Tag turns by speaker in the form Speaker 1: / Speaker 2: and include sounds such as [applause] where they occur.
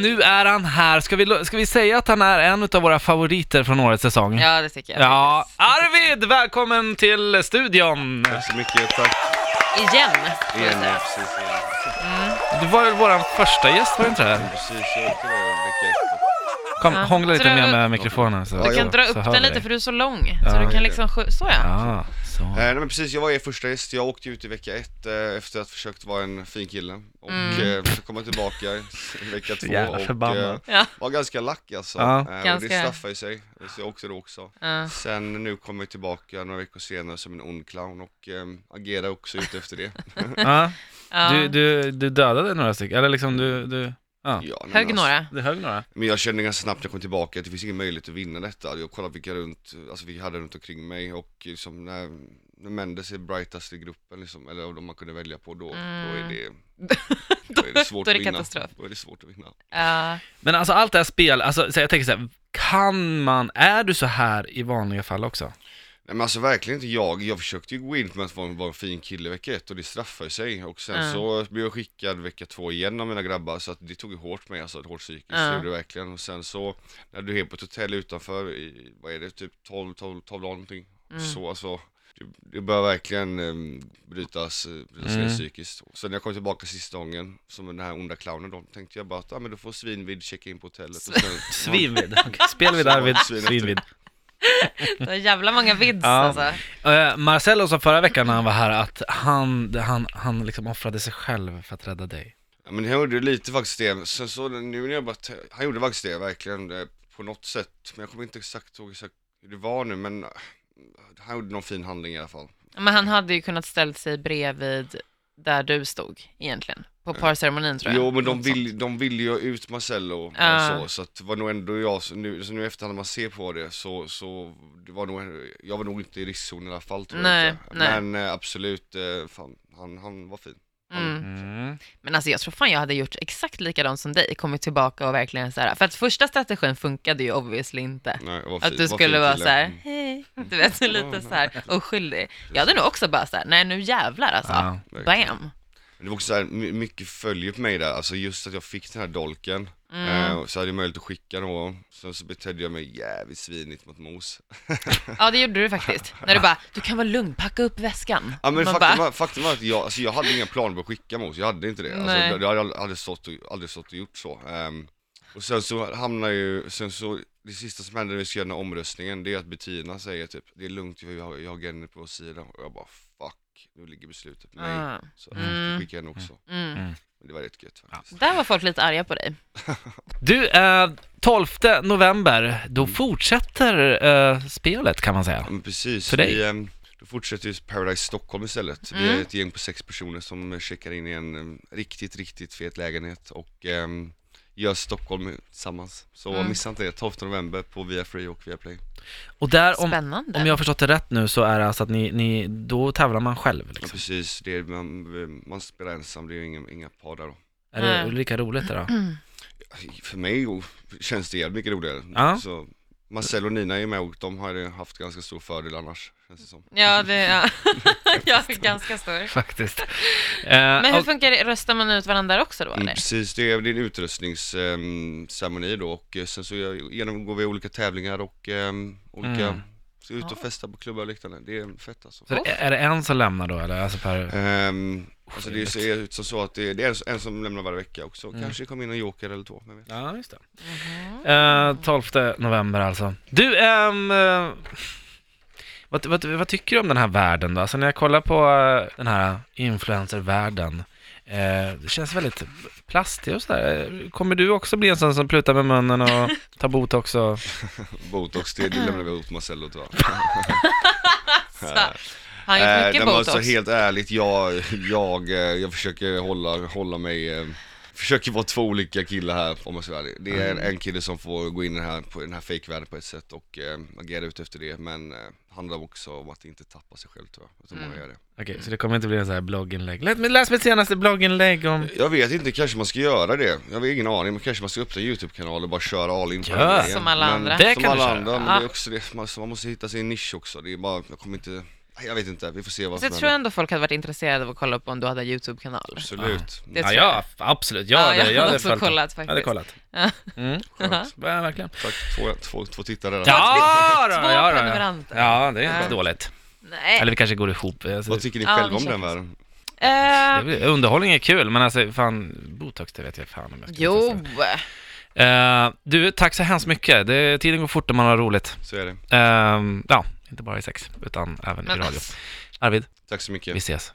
Speaker 1: Nu är han här. Ska vi, lo- ska vi säga att han är en av våra favoriter från årets säsong?
Speaker 2: Ja, det tycker jag.
Speaker 1: Ja. Arvid, välkommen till studion!
Speaker 3: Tack så mycket, tack.
Speaker 2: Igen. får jag
Speaker 3: Igen,
Speaker 2: säga.
Speaker 3: ja, precis. Ja,
Speaker 1: Du var väl vår första gäst, var du inte det?
Speaker 3: precis. Jag åkte ner en vecka efter.
Speaker 1: Kom,
Speaker 2: Ja.
Speaker 1: hångla lite
Speaker 2: Dra-
Speaker 1: mer med mikrofonen. Så,
Speaker 2: Du kan
Speaker 1: så,
Speaker 2: dra
Speaker 1: så
Speaker 2: upp
Speaker 1: hör
Speaker 2: den
Speaker 1: vi
Speaker 2: lite
Speaker 1: dig.
Speaker 2: för du är så lång. Så
Speaker 1: Ja.
Speaker 2: du kan liksom skj- så ja.
Speaker 1: Ja, så.
Speaker 3: Eh, nej, men precis, jag var er första gäst. Jag åkte ut i vecka ett eh, efter att försökt vara en fin kille. Och eh, så kom jag tillbaka i [laughs] vecka två
Speaker 1: Mm. jävla
Speaker 3: och
Speaker 1: förbannad.
Speaker 3: eh,
Speaker 2: Ja.
Speaker 3: var ganska lack alltså.
Speaker 1: Ja.
Speaker 3: Eh, och
Speaker 2: Ganska.
Speaker 3: det straffade ju sig. Så jag åkte då också.
Speaker 2: Ja.
Speaker 3: Sen nu kom jag tillbaka några veckor senare som en ond clown och eh, agerade också ut efter det.
Speaker 1: Ja.
Speaker 2: Ja.
Speaker 1: Du, du, du dödade några stycken, eller liksom du, du, ja.
Speaker 3: Ja, nej, men
Speaker 2: Högg
Speaker 3: alltså-
Speaker 2: några.
Speaker 1: Du högg några.
Speaker 3: Men jag kände ganska snabbt när jag kom tillbaka att det finns ingen möjlighet att vinna detta. Jag kollade vilka runt, alltså vi hade runt omkring mig och liksom när, när Mendes är brightast i gruppen liksom, eller av de man kunde välja på då, då är det, då är det
Speaker 2: Mm. [laughs]
Speaker 3: svårt
Speaker 2: Då är det
Speaker 3: att vinna.
Speaker 2: katastrof.
Speaker 3: Då är det svårt att vinna.
Speaker 2: Ja.
Speaker 1: Men alltså allt det här spel, alltså, så jag tänker så här, kan man, är du så här i vanliga fall också?
Speaker 3: Nej men alltså verkligen inte jag, jag försökte ju gå in med att vara en, vara en fin kille vecka ett och det straffade sig och sen
Speaker 2: Mm.
Speaker 3: så blev jag skickad vecka två igen av mina grabbar så att det tog ju hårt mig alltså, ett hårt psykiskt
Speaker 2: Mm.
Speaker 3: det gjorde det verkligen och sen så när du är på ett hotell utanför i, vad är det, typ 12, 12, 12 dagar någonting så alltså det, det börjar verkligen eh, brytas, eh, brytas ner psykiskt. Sen när jag kom tillbaka sista gången, som den här onda clownen då, tänkte jag bara att ah, men du får svinvid checka in på hotellet. Och sen,
Speaker 1: [laughs] Svinvid. Okay. Spelvid Arvid, svinvid. [laughs]
Speaker 2: Det var jävla många vids
Speaker 1: Ja.
Speaker 2: alltså.
Speaker 1: Eh, Marcello sa förra veckan när han var här att han, han, han liksom offrade sig själv för att rädda dig.
Speaker 3: Ja men han gjorde lite faktiskt det, sen så nu när jag bara, t- han gjorde faktiskt det verkligen eh, på något sätt, men jag kommer inte exakt ihåg exakt hur det var nu men eh, han gjorde någon fin handling i alla fall.
Speaker 2: Men han hade ju kunnat ställt sig bredvid där du stod egentligen. På parceremonin tror jag.
Speaker 3: Jo men de
Speaker 2: Något
Speaker 3: vill, de vill ju ut Marcello
Speaker 2: Ja.
Speaker 3: och så, så att det var nog ändå jag, som- nu, så nu i efterhand när man ser på det så, så det var nog, jag var nog inte i riskzonen i alla fall tror
Speaker 2: Nej,
Speaker 3: jag inte.
Speaker 2: nej.
Speaker 3: Men eh, absolut, eh, fan, han, han var fin.
Speaker 2: sånt. Mm. Men alltså jag tror fan jag hade gjort exakt likadant som dig, kommit tillbaka och verkligen så här. För att första strategin funkade ju obviously inte.
Speaker 3: Nej, var
Speaker 2: Att
Speaker 3: fin-
Speaker 2: du
Speaker 3: var
Speaker 2: skulle
Speaker 3: fin
Speaker 2: vara
Speaker 3: kille.
Speaker 2: så här,
Speaker 3: Mm.
Speaker 2: hej, du vet, lite så här oskyldig. Jag hade nog också bara så här, nej nu jävlar alltså,
Speaker 1: Ja,
Speaker 2: bam.
Speaker 3: Det var också så här, my- mycket följe på mig där, alltså just att jag fick den här dolken
Speaker 2: Mm.
Speaker 3: eh, och Så hade jag möjlighet att skicka någon, sen så betedde jag mig jävligt svinigt
Speaker 2: [laughs]
Speaker 3: mot Mos
Speaker 2: Ja det gjorde du faktiskt, när du bara, du kan vara lugn, packa upp väskan.
Speaker 3: Ja men
Speaker 2: Man
Speaker 3: faktum,
Speaker 2: bara,
Speaker 3: var, faktum var att jag, alltså, jag hade inga planer på att skicka Mos, jag hade inte det alltså,
Speaker 2: Nej.
Speaker 3: Jag jag hade ald- aldrig stått och, aldrig stått och gjort så Ehm, Och sen så hamnar ju, sen så det sista som händer när vi ska göra den här omröstningen det är att Bettina säger typ Det är lugnt, jag har, jag har Genny på vår sida och jag bara fuck, nu ligger beslutet på mig
Speaker 2: Ah.
Speaker 3: Så jag fick skicka henne också,
Speaker 2: Mm.
Speaker 3: Men det var rätt gött faktiskt
Speaker 2: Där var folk lite arga på dig.
Speaker 1: Du, eh, 12 november, då
Speaker 2: Mm.
Speaker 1: fortsätter eh, spelet kan man säga.
Speaker 3: Ja, men precis.
Speaker 1: För dig? Mm.
Speaker 3: Vi, ehm, då fortsätter ju Paradise Stockholm istället. Vi är ett gäng på sex personer som checkar in i en ehm, riktigt, riktigt fet lägenhet och ehm, gör Stockholm tillsammans. Så
Speaker 1: Mm.
Speaker 3: missa inte det, 12 november på Viafree och Viaplay.
Speaker 1: Och där, om,
Speaker 2: Spännande.
Speaker 1: om jag har förstått det rätt nu, så är det alltså att ni, ni då tävlar man själv
Speaker 3: Ja,
Speaker 1: liksom.
Speaker 3: precis, det är, man, ehm, man spelar ensam, det är ju inga, inga par där då.
Speaker 1: Är det
Speaker 2: Mm.
Speaker 1: lika roligt det då?
Speaker 3: För mig o- känns det jävligt mycket roligare.
Speaker 1: Ja.
Speaker 3: Så, Marcel och Nina är ju med och de har ju haft ganska stor fördel annars, känns det som.
Speaker 2: Ja, det, ja. [laughs] jag är ganska
Speaker 1: [laughs]
Speaker 2: stor.
Speaker 1: Faktiskt. Eh,
Speaker 2: Men hur
Speaker 1: och-
Speaker 2: funkar det, röstar man ut varandra också då
Speaker 3: Mm,
Speaker 2: eller?
Speaker 3: precis, det är det är en utrustningsceremoni då och eh, sen så gör- genomgår vi olika tävlingar och ehm, olika,
Speaker 1: Mm.
Speaker 3: så ut och
Speaker 2: Ja.
Speaker 3: festa på klubbar och liknande, det är fett alltså.
Speaker 1: så det- är det en som lämnar då eller? Alltså
Speaker 2: Eh,
Speaker 1: per...
Speaker 3: Ehm, alltså det ser ut som så att det är, det är en- en som lämnar varje vecka också, kanske det kommer in en joker eller två, vem vet.
Speaker 1: Ja, just det.
Speaker 2: Mhm.
Speaker 1: Eh, 12 november alltså. Du, ehm, eh, vad, vad, vad tycker du om den här världen då? Alltså när jag kollar på eh, den här influencervärlden, eh, det känns väldigt plastig och sådär. Eh, Kommer du också bli en sån som plutar med munnen
Speaker 2: [laughs]
Speaker 1: och tar botox och...
Speaker 3: Botox, det, det lämnar vi åt Marcello tyvärr.
Speaker 2: Han har gjort
Speaker 3: Eh,
Speaker 2: mycket
Speaker 3: men
Speaker 2: botox.
Speaker 3: alltså helt ärligt, jag, jag, eh, jag försöker hålla, hålla mig, eh, försöker vara två olika killar här om man ska vara ärlig. Det är en, en kille som får gå in i den här, på den här fejkvärlden på ett sätt och eh, agera ut efter det, men eh, handlar också om att inte tappa sig själv tror jag. Jag tror
Speaker 2: Mm.
Speaker 3: många gör det.
Speaker 1: Okej, så det kommer inte bli en sån här blogginlägg. Läs, men läs mitt senaste blogginlägg om...
Speaker 3: Jag vet inte, kanske man ska göra det. Jag har ingen aning, men kanske man ska öppna en YouTube-kanal och bara köra all in på
Speaker 1: Gör.
Speaker 3: den grejen.
Speaker 2: Som alla
Speaker 3: men,
Speaker 2: andra.
Speaker 1: Det
Speaker 3: som
Speaker 1: kan du
Speaker 3: alla
Speaker 1: köra.
Speaker 3: andra, men
Speaker 2: Ja.
Speaker 3: det är också det, man, så man måste hitta sin nisch också. Det är bara, jag kommer inte Jag vet inte, vi får se vad
Speaker 2: Så Alltså,
Speaker 3: som
Speaker 2: jag tror
Speaker 3: händer.
Speaker 2: ändå folk hade varit intresserade av att kolla upp om du hade en YouTube-kanal.
Speaker 3: Absolut.
Speaker 2: Det
Speaker 1: Ja,
Speaker 2: tror jag.
Speaker 1: ja, absolut. Jag hade,
Speaker 2: jag
Speaker 1: jag hade
Speaker 2: också
Speaker 1: följt dem.
Speaker 2: kollat
Speaker 1: Jag hade
Speaker 2: faktiskt.
Speaker 1: kollat.
Speaker 2: Ja.
Speaker 1: Mm,
Speaker 2: [laughs]
Speaker 3: Skönt.
Speaker 1: ja, verkligen.
Speaker 3: Tack, två, två, två tittare redan.
Speaker 1: Ja, då,
Speaker 2: Två
Speaker 1: ja, då, ja.
Speaker 2: prenumeranter.
Speaker 1: ja, det är inte
Speaker 2: Ja.
Speaker 1: dåligt.
Speaker 2: Nej.
Speaker 1: Eller vi kanske går ihop. Alltså,
Speaker 3: Vad tycker ni
Speaker 2: Ja,
Speaker 3: själva
Speaker 2: vi
Speaker 3: om
Speaker 2: kör
Speaker 3: den
Speaker 2: faktiskt. Eh,
Speaker 3: världen?
Speaker 1: det är väl- underhållning är kul, men alltså fan, botox det vet jag fan om jag ska testa.
Speaker 2: jo.
Speaker 1: Eh, du, tack så hemskt mycket. Det, tiden går fort när man har roligt.
Speaker 3: Så är det.
Speaker 1: Eh, ja, inte bara i sex, utan även i
Speaker 2: Men
Speaker 1: radio.
Speaker 2: alltså,
Speaker 1: Arvid,
Speaker 3: Tack så mycket.
Speaker 1: vi ses.